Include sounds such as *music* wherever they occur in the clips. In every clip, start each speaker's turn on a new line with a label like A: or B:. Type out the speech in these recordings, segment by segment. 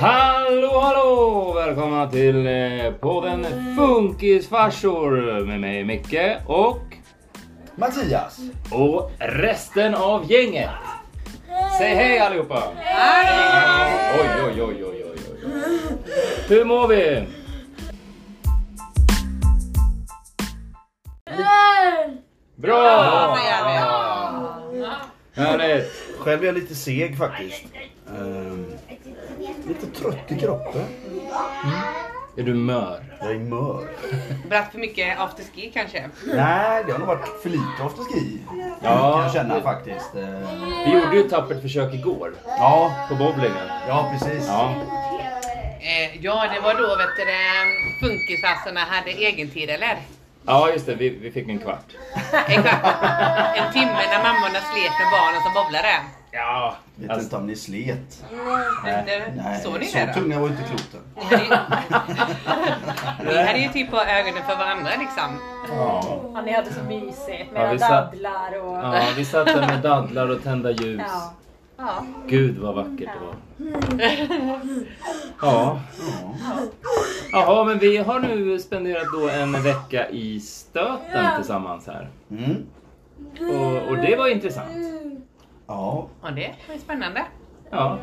A: Hallå hallå! Välkomna till eh, podden Funkisfarsor med mig Micke och,
B: Mattias!
A: och resten av gänget. Säg hej allihopa! Oj, oj, oj, oj, oj, oj. Hur mår vi? Bra!
C: Ja, det gör vi.
A: Härligt!
B: Själv är jag lite seg faktiskt. Ehm, lite trött i kroppen.
A: Är du mör?
B: Jag är mör.
C: Dratt för mycket afterski kanske.
B: Nej, det har nog varit för lite afterski.
A: Ja.
B: Kan jag känna faktiskt. Ehm,
A: Vi gjorde ju ett tappert försök igår
B: Ja,
A: på bowlingen.
B: ja precis.
A: Ja.
C: Eh, ja, det var då vet du, det, funkisfassorna hade egentid eller?
A: ja, just det. Vi, vi fick en kvart.
C: Exakt. En timme när mammorna slet med barnen som bowlade.
A: Ja,
B: Vet
A: alltså,
B: inte om ni slet.
C: Men, eh, Såg ni
B: så
C: det då?
B: tunga var inte kloten.
C: Ni hade ju- Ni hade ju typ på ögonen för varandra liksom.
A: ja.
D: Ja, ni hade så mysigt
A: Ja,
D: med
A: vi satt-
D: dadlar och...
A: Ja, vi satt där med dadlar och tända ljus.
D: Ja.
C: Ja.
A: Gud vad vackert det var. Ja. Jaha, men vi har nu spenderat då en vecka i stöten tillsammans här.
B: Mm.
A: Och, och det var intressant.
B: Ja,
C: Och det var ju spännande.
A: Ja.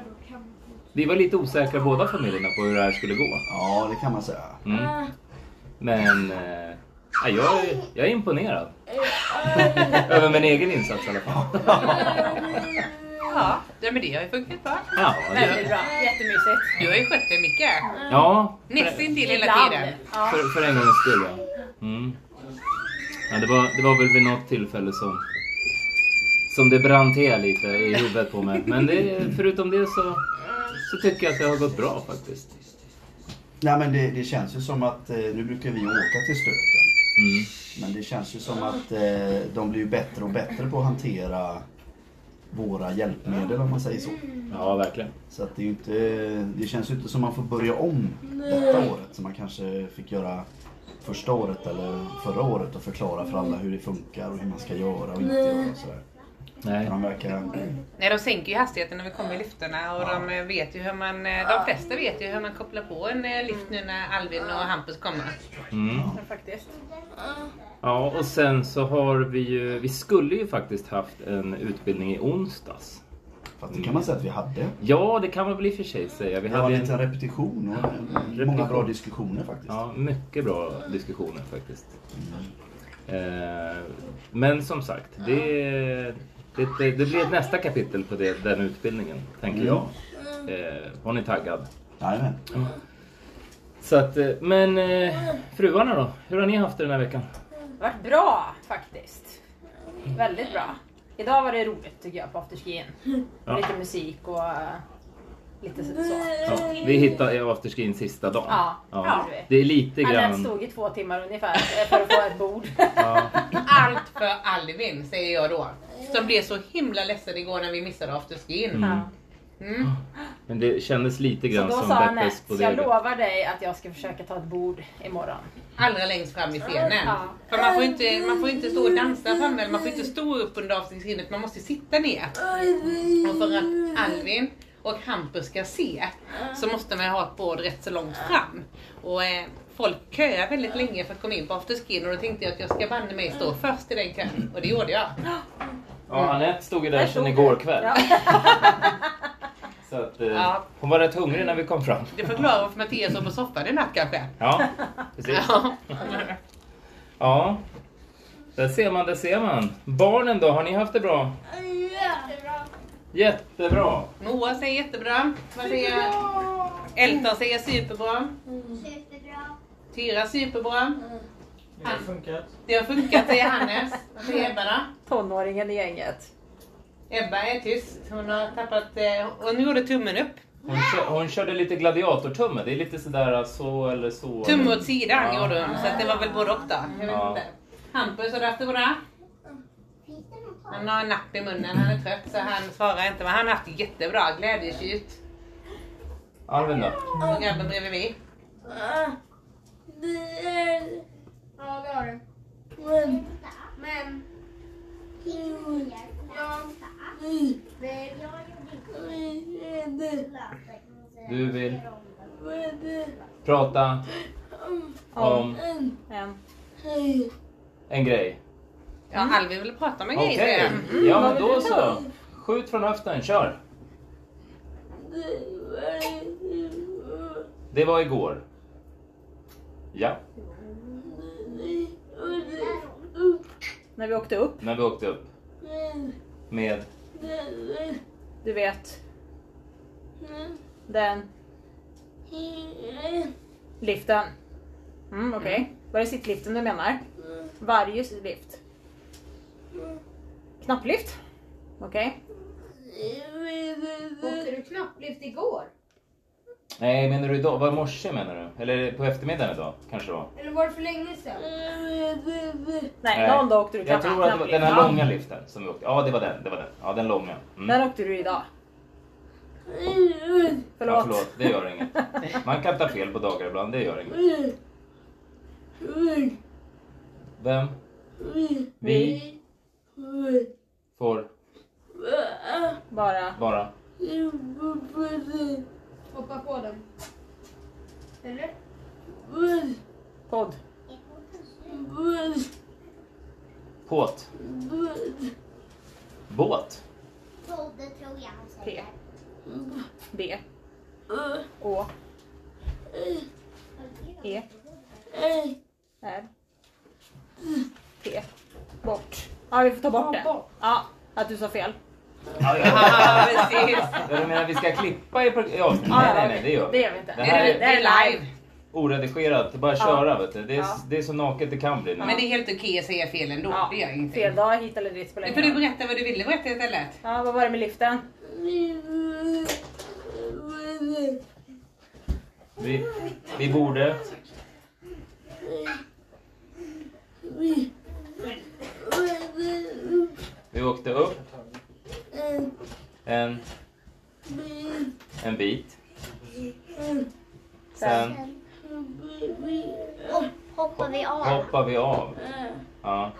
A: Vi var lite osäkra båda familjerna på hur det här skulle gå.
B: ja, det kan man säga.
A: Mm. Men eh, ja, jag, är- jag är imponerad. *laughs* Över min egen insats i alla fall.
C: Ja, det, men det har ju funkat bra.
A: Ja,
D: Väldigt
A: det,
D: bra. Jättemysigt.
C: Du har ju skött dig mycket.
A: ja för,
C: Nästintill hela tiden.
D: Ja.
A: för, för en gångs skull ja. Mm. ja det, var, det var väl vid något tillfälle som, som det brann till lite i huvudet på mig. Men det, förutom det så, så tycker jag att det har gått bra faktiskt.
B: Nej men det, det känns ju som att, eh, nu brukar vi åka till stöten.
A: Mm.
B: Men det känns ju som att eh, de blir ju bättre och bättre på att hantera våra hjälpmedel om man säger så.
A: Ja, verkligen.
B: Så att det, är ju inte, det känns ju inte som man får börja om detta året som man kanske fick göra första året eller förra året och förklara för alla hur det funkar och hur man ska göra och inte göra och sådär. Men
A: Nej.
B: de verkar...
C: Nej, de sänker ju hastigheten när vi kommer i lyfterna och de eh, vet ju hur man, eh, de flesta vet ju hur man kopplar på en eh, lyft nu när Alvin och Hampus kommer.
A: Mm.
D: Ja, faktiskt.
A: Ja, och sen så har vi ju, vi skulle ju faktiskt haft en utbildning i onsdags.
B: Fast det kan man säga att vi hade.
A: Ja, det kan man väl i och för sig säga. Vi
B: Det var
A: hade en,
B: en liten repetition och många
A: Repetition.
B: bra diskussioner faktiskt.
A: ja, mycket bra diskussioner faktiskt. Eh, men som sagt, det, det, det, det blir ett nästa kapitel på det, den utbildningen, tänker
B: Mm.
A: jag. Eh, hon är taggad.
B: Jajamän.
A: Så att, eh, men eh, fruarna då? Hur har ni haft det den här veckan?
D: Det har varit bra faktiskt. Väldigt bra. Idag var det roligt tycker jag på afterskin.
A: Ja.
D: Lite musik och eh, lite så.
A: Ja, vi hittade afterskin sista dagen.
D: Ja, ja.
A: Det är lite
D: Han
A: grann... Mm.
D: stod i två timmar ungefär eh, för att få ett bord.
A: Ja.
C: Allt för Alvin säger jag då. Som blev så himla ledsen igår när vi missade afterskin.
A: Mm.
D: Ja.
C: Mm.
A: Men det kändes lite
D: Så
A: grann
D: då
A: som
D: sa han
A: Beppes
D: att
A: på
D: jag
A: det.
D: lovar dig att jag ska försöka ta ett bord imorgon.
C: Allra längst fram i scenen.
D: Ja.
C: För man får ju inte, man får inte stå och dansa framme, eller man får inte stå upp under avsnittshinnet, man måste sitta ner. Och för att Alvin och Hampus ska se så måste man ju ha ett bord rätt så långt fram. Och eh, folk köar väldigt länge för att komma in på afterskin och då tänkte jag att jag ska banne mig stå
D: Mm.
C: först i den kön. Och det gjorde jag.
A: Ja, Anette stod ju där
D: stod
A: sedan
D: du.
A: igår kväll.
D: Ja. *laughs*
A: Så att, eh,
C: Ja.
A: Hon var rätt hungrig när vi kom fram.
C: Det förklarar varför Mattias sov på soffan i natt kanske.
D: *laughs*
A: Ja, precis.
C: Ja.
A: Ja, där ser man, där ser man. Barnen då, har ni haft det bra? Jättebra!
C: Moa säger jättebra. Vad säger Elton säger superbra. Tyra superbra.
E: Det har funkat.
C: Det har funkat säger Hannes. Vad säger Ebba då?
D: Tonåringen i gänget.
C: Ebba är tyst. Hon har tappat... eh, Hon gjorde tummen upp.
A: Hon, kö- hon körde lite gladiatortumme. Det är lite sådär äh, så eller så.
C: Tumme åt sidan
A: Ja.
C: gjorde hon, så att det var väl både och då. Jag vet
A: Ja.
C: inte. Hampus, har du haft det bra? Han har en napp i munnen, han är trött så han svarar inte. Men han har haft det jättebra, glädjetjut.
A: Alvin då?
C: Och grabben bredvid mig.
F: Ja, det har du. Men... Men... Ja. Nej.
A: Du vill prata om
D: Men,
A: en grej.
C: Ja, Alvin ville prata med
A: Okej,
C: grejer.
A: ja men då så. Skjut från höften, kör. Det var igår. Ja,
D: när vi åkte upp,
A: när vi åkte upp med...
D: du vet, den liften. Mm, okej. Var det sittliften du menar? Varje lift? Mm. Knapplift? Okej.
E: Åkte du knapplift igår?
A: Nej, menar du idag? Var i morse menar du? Eller på eftermiddagen idag kanske det var?
E: Eller var det för länge sedan?
D: Nej,
A: Nej.
D: någon dag åkte du
A: Jag tror att det var
D: knapplift.
A: den här
D: Ja,
A: långa liften som vi åkte. Ja, det var den. Det var den. Ja, den långa. Mm.
D: Den åkte du idag. Förlåt.
A: Ja, förlåt, det gör inget. Man kan ta fel på dagar ibland, det gör inget. Vem? Vi får
D: Bara.
A: bara...
E: Hoppa på den. Eller?
D: Podd.
A: Påt. Båt.
F: Både tror jag han
D: P.
F: säger.
D: Mm. B. Å. Mm. E. Mm. R. P. Bort. Ja, vi får ta bort det. Ja, att du sa fel.
A: Ja,
C: Ja,
A: ja.
C: precis.
A: Ja, Du menar vi ska klippa i pro- ja,
D: Ja,
A: Nej,
D: ja,
A: nej,
D: okej.
A: nej, det gör
D: Det
A: vi.
D: gör vi inte.
A: Det
C: Det är,
A: här
C: det
A: är
C: är live.
A: oredigerat, det är bara att
D: Ja.
A: köra. Vet du. Det, är,
D: Ja.
A: det är så naket det kan bli nu.
C: Men det är helt okej att säga fel ändå.
D: Ja,
C: Det gör ingenting.
D: Fel dag hit eller dit spelar
C: Nu får du
D: ingen roll.
C: berätta vad du ville berätta istället.
D: Ja, vad var det med liften?
A: Vi, vi borde... Vi åkte upp en, en bit. Sen
F: Hoppar vi av? Mm.
A: hoppar vi av. Ja.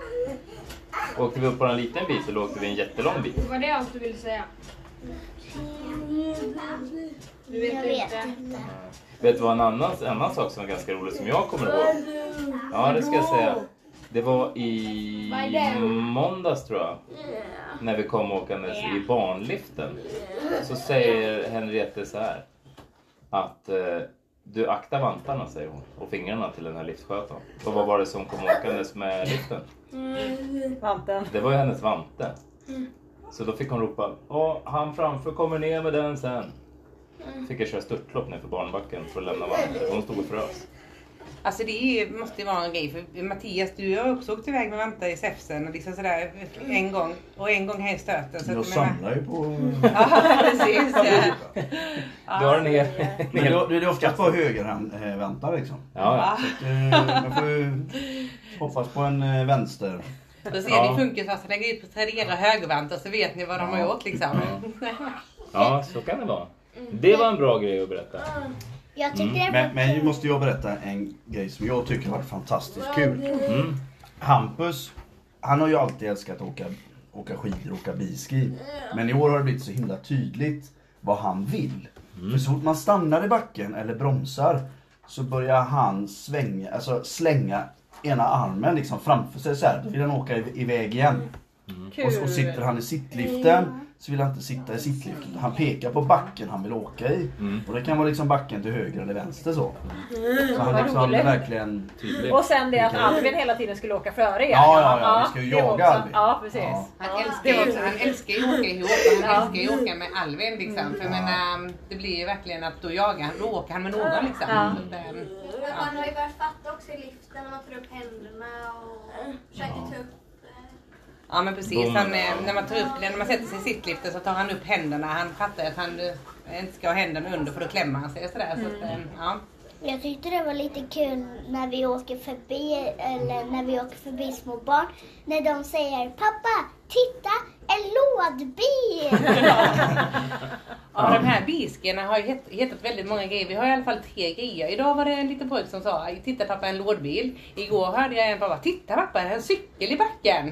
A: Åkte vi upp bara en liten bit eller åkte vi en jättelång bit?
E: Var det allt du ville säga? Du
F: Jag vet inte.
A: Vet du vad en annan, en annan sak som var ganska rolig som jag kommer ihåg? Ja, det ska jag säga. Det var i
E: Vad är det?
A: måndags tror jag. När vi kom åkandes i barnliften. Så säger Henriette så här. Att eh, du akta vantarna säger hon. Och fingrarna till den här liftskötaren. Och vad var det som kom åkandes med liften?
D: Vanten.
A: Det var ju hennes vante. Så då fick hon ropa. Åh, han framför kommer ner med den sen. Fick jag köra störtlopp ner för barnbacken för att lämna vanten. Hon stod och frös.
C: Alltså det är ju- måste ju vara en grej för Mattias du har också åkt iväg med Vanta i Säfsen och liksom sådär en gång och en gång här i stöten. Så
B: Jag
C: att, jag menar-
B: samlar ju på...
A: *laughs*
C: Ja precis. *laughs*
A: Du har en hel...
B: Men det, det är oftast på högerväntar liksom.
A: Ja, ja.
B: Eh, Man får ju hoppas på en eh, vänster.
C: Då ser
A: Ja.
C: ni funkisfassan lägger ut på Tradera högervantar så vet ni vad de har gjort liksom.
A: ja, så kan det vara. Det var en bra grej att berätta.
F: Jag tyckte det var
B: Men, men nu måste jag berätta en grej som jag tycker har varit fantastiskt kul.
A: Mm.
B: Hampus, han har ju alltid älskat att åka, åka skidor och åka biski. Men i år har det blivit så himla tydligt vad han vill. För så fort man stannar i backen eller bromsar så börjar han svänga, alltså slänga ena armen liksom framför sig så här. Då vill han åka i- iväg igen. Och, och sitter han i sittliften så vill han inte sitta i sittliften. Han pekar på backen han vill åka i. Och det kan vara liksom backen till höger eller vänster så. Så han
D: Mm. Vad
B: liksom
D: roligt.
B: verkligen...
A: Tydligt.
D: Och sen det att Alvin hela tiden skulle åka före er.
B: Mm. Ja, ja, ja, vi ska ju
D: det var
B: jaga
D: också-
B: Alvin.
D: Ja, precis.
B: Ja.
C: Han älskar ju också, han älskar ju att åka ihop och han älskar ju att åka med Alvin liksom. För jag menar, det blir ju verkligen att då jagar han, då åker han med någon liksom.
D: Ja.
C: Så att, ehm,
G: Man har ju börjat fatta också i liften när man tar upp händerna och försöker ta upp.
C: Ja men precis, han, eh, när, man tar upp, när man sätter sig i sittliften så tar han upp händerna. Han fattar att han eh, inte ska ha händerna under för då klämmer han sig och sådär. Så att, eh, ja.
F: Jag tyckte det var lite kul när vi åker förbi, eller när vi åker förbi små barn, när de säger pappa, titta, en lådbil!
C: Ja, de här biskerna har ju het- hetat väldigt många grejer. Vi har i alla fall tre grejer. Idag var det en liten pojke som sa Titta pappa en lådbil. Igår hörde jag en Mm. pappa Titta pappa en cykel i backen.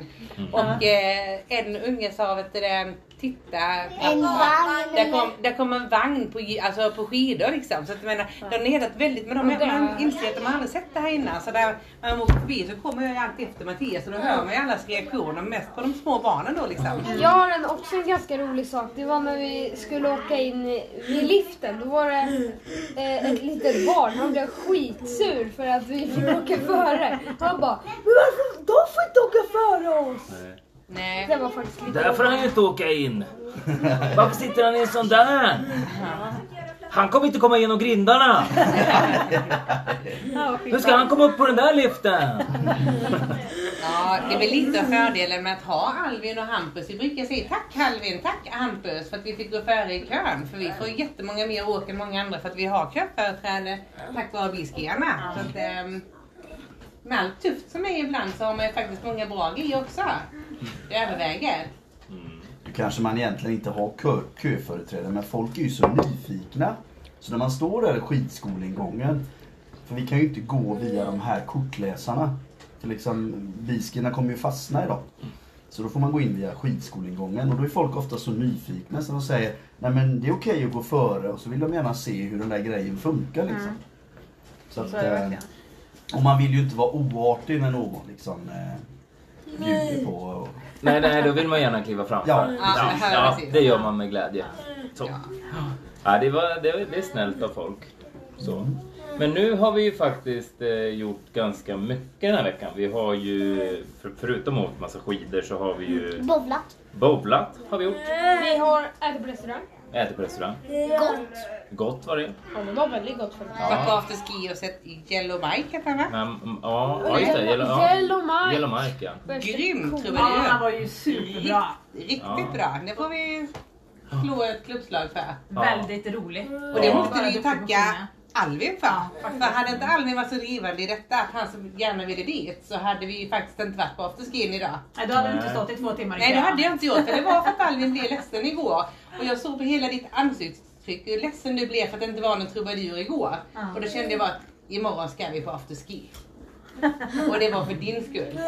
C: Och eh, en unge sa vet du, det, titta.
F: En vagn.
C: Där kom, där kom en vagn på, gi- alltså på skidor liksom. Så att jag menar, de har hedat väldigt, men de, man inser att de har aldrig sett det här innan. Så där man åker förbi så kommer jag ju alltid efter Mattias och då hör man ju allas reaktioner, mest på de små barnen då liksom.
E: Jag har en, också en ganska rolig sak. Det var när vi skulle åka in i- vid liften. Då var det eh, ett litet barn. Han blev skitsur för att vi fick åka före. Han bara Varför de får inte åka före oss?
C: Nej.
E: Det var faktiskt lite
A: Där får han ju inte åka in. Varför sitter han i en sån där? Han kommer inte komma igenom grindarna. Hur ska han komma upp på den där liften?
C: Ja, det är väl lite av fördelen med att ha Alvin och Hampus. Vi brukar säga tack Alvin, tack Hampus för att vi fick gå före i kön. För vi får jättemånga mer åk än många andra för att vi har köföreträde tack vare biskearna. Så att, ehm, med allt tufft som är ibland så har man ju faktiskt många bra grejer också. Det överväger.
B: Då kanske man egentligen inte har kö, köföreträde men folk är ju så nyfikna. Så när man står där i skidskolingången, för vi kan ju inte gå via de här kortläsarna. För liksom, biskerna kommer ju fastna idag. Så då får man gå in via skidskolingången och då är folk ofta så nyfikna så de säger Nej men det är okej att gå före och så vill de gärna se hur den där grejen funkar liksom. Så att,
C: Mm. Så är det
B: eh,
C: verkligen.
B: och man vill ju inte vara oartig när någon liksom eh, bjuder på och,
A: *laughs* Nej, nej, då vill man gärna kliva fram.
B: Ja,
A: ja,
C: precis.
A: ja det gör man med glädje. Så. Ja, det, var, det, var, det är snällt av folk. Så. Men nu har vi ju faktiskt eh, gjort ganska mycket den här veckan. Vi har ju, för, förutom åkt massa skidor, så har vi ju
F: Bowlat.
A: bowlat. Har vi gjort.
E: Vi har ätit på restaurang.
A: Ätit på restaurang.
F: Gott.
A: Gott var det.
E: Ja, men det var väldigt gott faktiskt.
C: Varit på afterski och sett Yellow Bike heter han va?
A: Men, mm, ja, ja, just det. Yellow, ja.
E: Yellow Mike.
A: Yellow Mike, ja.
C: Grym
H: Ja, han
C: trubadur!
H: var ju superbra.
C: Riktigt
A: Ja.
C: bra! Det får vi slå ett klubbslag för.
A: Ja.
H: Väldigt roligt.
C: Och det
A: Ja.
C: måste vi ju tacka Alvin för.
H: Ja,
C: för hade inte Alvin varit så drivande i detta att han så gärna ville dit så hade vi ju faktiskt inte varit på afterskin idag.
H: Nej, då hade du inte
A: Nej.
H: stått i två timmar i
C: Nej det
H: kön.
C: hade jag inte gjort för det var för att Alvin blev ledsen igår. Och jag såg på hela ditt ansiktsuttryck hur ledsen du blev för att det inte var någon trubadur igår.
H: Ja.
C: Och då kände jag bara att imorgon ska vi på afterski. Och det var för din skull.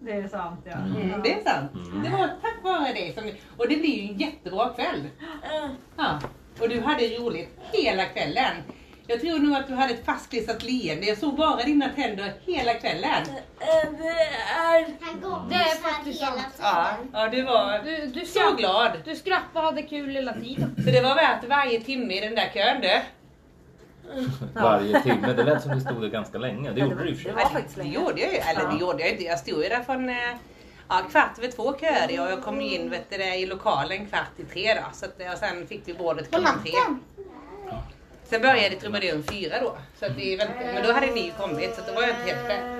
H: Det är sant, ja.
C: Mm, det är sant. Det var tack vare dig. Som, och det blir ju en jättebra kväll. Ja. Och du hade roligt hela kvällen. Jag tror nog att du hade ett fastklistrat leende. Jag såg bara dina tänder hela kvällen.
F: Han går
E: Det är
F: så här
E: faktiskt
F: hela
E: sant.
F: tiden.
C: Ja, ja du var
E: Du, du,
C: så
E: skratt,
C: glad.
E: du skrattade och hade kul hela tiden.
C: Så det var värt varje timme i den där kön du.
A: Varje timme. Det lät som du stod där ganska länge. Det gjorde du i och för sig.
C: Ja, det gjorde jag ju. Eller det gjorde jag inte. Jag stod ju där från eh, ja, kvart över två köade jag och jag kom ju in vet du, det, i lokalen kvart i tre då. Så att, eh, och sen fick vi bordet
F: På
C: klockan tre.
F: natten.
C: Sen började trubaduren fyra då. Så att vi väntade. Men då hade ni ju kommit så att då var jag inte helt själv.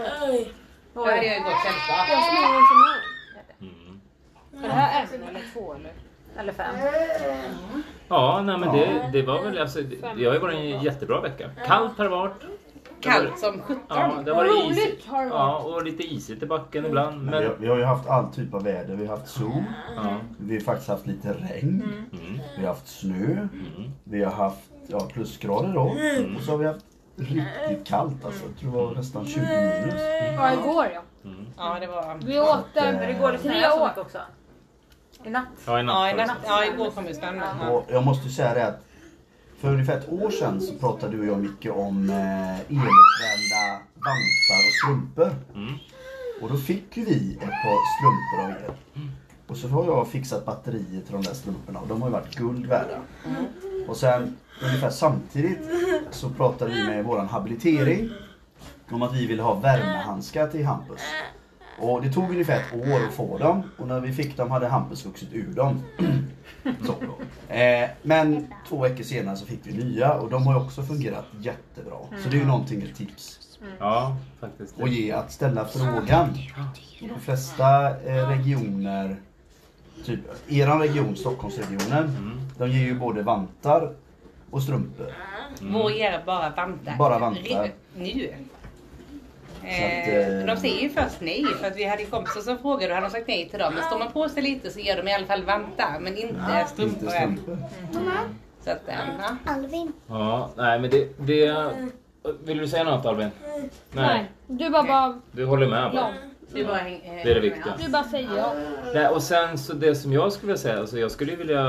C: Då hade jag ju gott sällskap.
E: Jag som är en som är.
A: Mm.
E: Är det här en eller två eller? Eller fem?
A: Ja, nej, men det, det var väl... Alltså, det, det har ju varit en jättebra vecka. Kallt har det varit.
C: Kallt som sjutton.
A: Ja, det har
E: Vad
A: varit
E: roligt
A: isigt.
E: har det varit.
A: Ja, och lite isigt i backen ibland.
B: Men... Vi, har,
A: Men,
B: vi har ju haft all typ av väder. Vi har haft sol,
A: ja.
B: vi har faktiskt haft lite regn,
A: Mm.
B: vi har haft snö, vi har haft ja, plusgrader då och så har vi haft riktigt kallt alltså. Jag tror det var nästan 20 minus.
E: Ja, igår ja.
C: Ja, det var...
E: Vi åt
B: eh,
E: den.
H: Igår det
E: Tre
H: snöade så
E: år.
H: mycket också. I natt.
A: Ja, i natt alltså.
C: Ja,
A: var
C: i
A: det
C: natt,
A: så.
C: ja, igår kom ju snön.
B: Och jag måste ju säga det att för ungefär ett år sedan så pratade du och jag mycket om eh, eluppvärmda vantar och strumpor.
A: Mm.
B: Och då fick ju vi ett par strumpor av er. Och så har jag fixat batterier till de där strumporna och de har ju varit guld värda. Och sen ungefär samtidigt så pratade vi med våran habilitering om att vi ville ha värmehandskar till Hampus. Och det tog ungefär ett år att få dem och när vi fick dem hade Hampus vuxit ur dem. så då. Eh, men två veckor senare så fick vi nya och de har ju också fungerat jättebra. Så det är ju någonting ett tips
A: Ja, faktiskt.
B: och ge att ställa frågan. I de flesta eh, regioner, typ eran region, Stockholmsregionen, de ger ju både vantar och strumpor.
C: Vår ger bara vantar.
B: Bara vantar.
C: Nu.
B: att,
C: Eh,
B: eh,
C: de säger ju först nej för att vi hade ju kompisar som frågade och hade de sagt nej till dem. Men står man på sig lite så ger de i alla fall vantar men inte
B: Inte
C: strumpor än.
B: strumpor.
C: Så att, eh, ja.
F: Alvin.
A: Ja, nej men det... det vill du säga något Albin?
E: Nej. Du bara bara
A: Du håller med bara?
C: Det är bara häng,
A: Det är det viktiga.
D: Du bara säger ja.
A: Nej, och sen så det som jag skulle vilja säga, alltså jag skulle ju vilja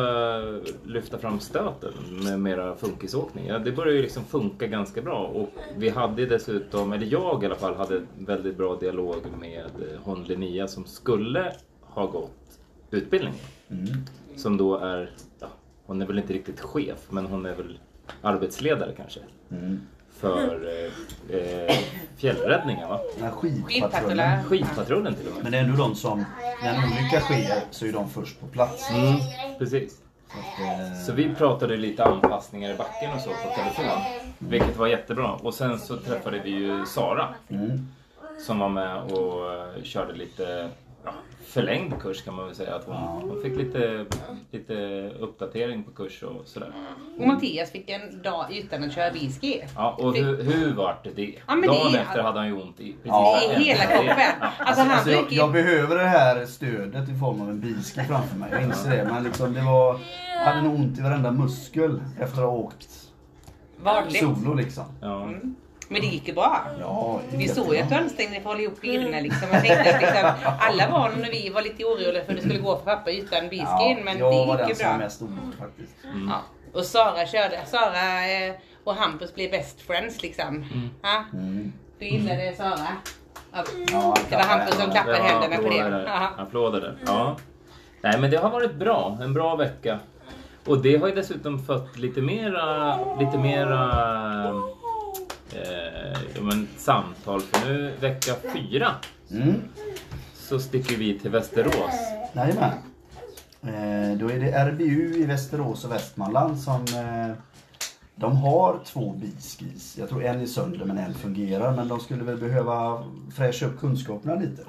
A: lyfta fram stöten med mera funkisåkning. Ja, det börjar ju liksom funka ganska bra och vi hade ju dessutom, eller jag i alla fall, hade väldigt bra dialog med eh, hon Linnea som skulle ha gått utbildningen.
B: Mm,
A: Som då är, ja, hon är väl inte riktigt chef, men hon är väl arbetsledare kanske
B: Mm.
A: för eh, eh, fjällräddningen va?
B: Den här
C: Skidpatruller.
B: skidpatrullen.
A: Skidpatrullen till och med.
B: Men det är ändå de som, när en olycka sker så är de först på plats.
A: Mm, precis.
B: Så att, eh,
A: Så vi pratade lite anpassningar i backen och så på telefon. Vilket var jättebra. Och sen så träffade vi ju Sara
B: mm.
A: som var med och eh, körde lite ja, förlängd kurs kan man väl säga. Att hon, hon fick lite, lite uppdatering på kurs och sådär.
C: Och Mattias fick en dag utan att köra bilski.
A: Ja, och hur, hur vart det?
C: Ja, men det
A: Dagen
C: är-
A: efter hade han ju ont i precis
B: Ja.
A: där.
C: I hela kroppen. Alltså han
B: Alltså jag,
C: fick
B: jag
C: ju...
B: behöver det här stödet i form av en bilski framför mig. Jag inser det. Men liksom det var... Jag hade nog ont i varenda muskel efter att ha åkt
C: Vanligt.
B: solo liksom.
A: Ja.
C: Mm. Men det gick ju bra.
B: Ja, det är
C: Vi såg ju
B: jättebra.
C: att du ansträngde dig för att hålla ihop bilderna liksom. Jag tänkte att liksom, alla barn och vi var lite oroliga för hur det skulle gå för pappa utan
B: Ja,
C: bilskin. men
B: jag var
C: det
B: den
C: gick ju
B: som var
C: bra.
B: mest orolig faktiskt.
C: Ja. Och Sara körde. Sara eh, och Hampus blev best friends liksom. Ja.
B: Mm.
C: Du gillade Sara. Ja.
B: Ja,
C: Det var Hampus som
B: händerna.
C: klappade
A: Ja,
C: händerna på
A: applåder
C: det.
A: där.
C: Ja.
A: Applåder där. Ja. Nej men det har varit bra, en bra vecka. Och det har ju dessutom fött lite mera, lite mera eh, ja, men, samtal. För nu vecka fyra
B: Mm.
A: så sticker vi till Västerås.
B: Jajamän. Eh, då är det RBU i Västerås och Västmanland som eh, de har två biskis. Jag tror en är sönder men en fungerar. Men de skulle väl behöva fräscha upp kunskaperna lite.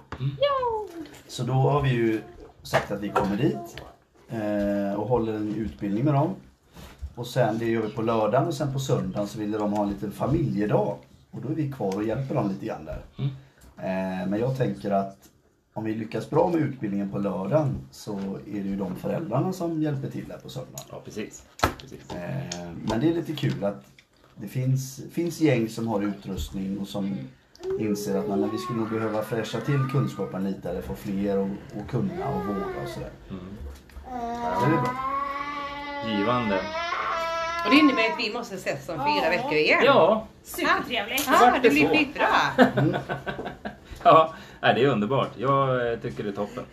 B: Så då har vi ju sagt att vi kommer dit eh, och håller en utbildning med dem. Och sen, det gör vi på lördagen och sen på söndagen så ville de ha en liten familjedag. Och då är vi kvar och hjälper dem lite grann där. Eh, men jag tänker att om vi lyckas bra med utbildningen på lördagen så är det ju de föräldrarna som hjälper till där på söndagen.
A: Ja precis. precis.
B: Eh, men det är lite kul att det finns, finns gäng som har utrustning och som inser att "Nej, men vi skulle nog behöva fräscha till kunskapen lite eller få fler att att kunna och våga och sådär. Så det är bra.
A: Givande.
C: Och det innebär att vi måste ses om fyra veckor igen.
A: Ja, *laughs*
H: Supertrevligt.
C: Ja,
A: vart
C: det
A: det
C: blir
A: så.
C: skitbra.
A: ja nej, det är underbart. Jag eh, tycker det är toppen.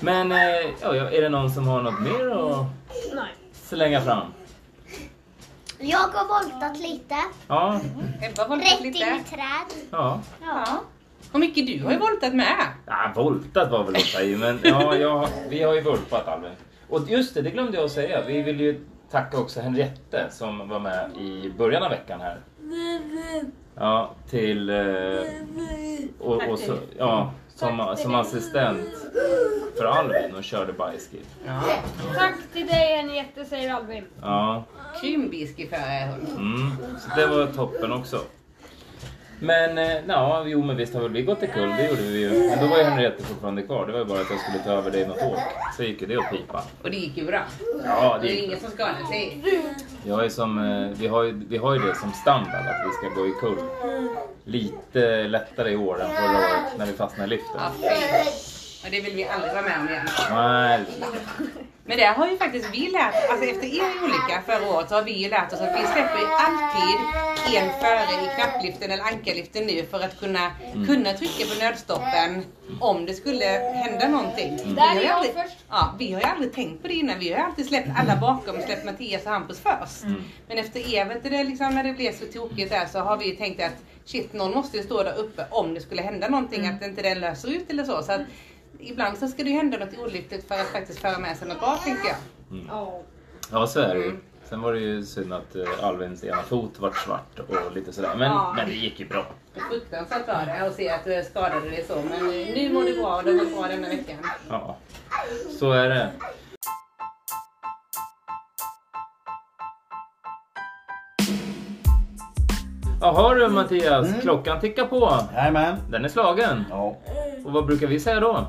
A: Men eh, ja, ja, är det någon som har något mer att slänga fram?
F: Jag har voltat lite.
A: Ja,
C: Ebba har voltat
F: Rätt in i
C: lite.
F: träd.
A: ja.
C: Ja. Och mycket du har ju voltat med.
A: Ja, voltat var väl att ta i, men ja, jag, vi har ju vurpat Albin. Och just det, det glömde jag att säga. Vi vill ju tacka också Henriette som var med i början av veckan här. Ja, till... eh, Och, och så, ja, som, som assistent för Albin och körde typ. bajskid.
E: Tack till dig Henriette säger Albin.
A: Ja,
C: Krymbiskiförare är hon.
A: mm, så det var toppen också. Men eh, ja, jo men visst har väl vi gått i kull, det gjorde vi ju. Men då var ju Henriette fortfarande kvar. Det var ju bara att jag skulle ta över dig något år. Så gick ju det åt pipan.
C: Och det gick ju bra.
A: Ja,
C: Det
A: det
C: är
A: gick
C: ingen som skadade sig.
A: Jag är som, eh, vi, har ju, vi har ju det som standard att vi ska gå i kull. Lite lättare i år än förra året när vi fastnade i liften.
C: Ja, fy. Och det vill vi aldrig vara med om igen.
A: Nej,
C: Men det har ju faktiskt vi lärt Alltså efter er olycka förra året så har vi ju lärt oss att vi släpper ju alltid en före i knappliften eller ankarliften nu för att kunna, kunna trycka på nödstoppen om det skulle hända någonting. Vi har,
E: är
C: ju
E: jag
C: aldrig,
E: först.
C: ja, vi har ju aldrig tänkt på det innan. Vi har ju alltid släppt alla bakom och släppt Mattias och Hampus först. Men efter er, vet du det, liksom, när det blev så tokigt där så har vi ju tänkt att shit, någon måste ju stå där uppe om det skulle hända någonting, att inte den löser ut eller så. så att, Ibland så ska det ju hända något olyckligt för att faktiskt föra med sig något bra tänker jag.
A: ja så är det ju. Sen var det ju synd att eh, Alvins ena fot vart svart och lite sådär. Men,
C: Ja.
A: men det gick ju bra.
C: Fruktansvärt var det att se att du skadade dig så men eh, nu mår du bra och det har gått bra denna veckan.
A: Ja, så är det. Jaha du Mattias, klockan tickar på.
B: Jajamän.
A: Den är slagen.
B: Ja,
A: Och vad brukar vi säga då?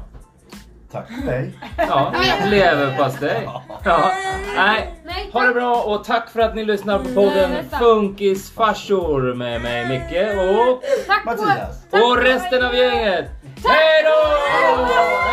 B: tack för dig.
A: Ja, leverpastej. Ja. Nej, Ha det bra och tack för att ni lyssnar på podden Funkisfarsor med mig Micke och,
E: Tack och
B: Mattias.
A: och resten av gänget. Hej då!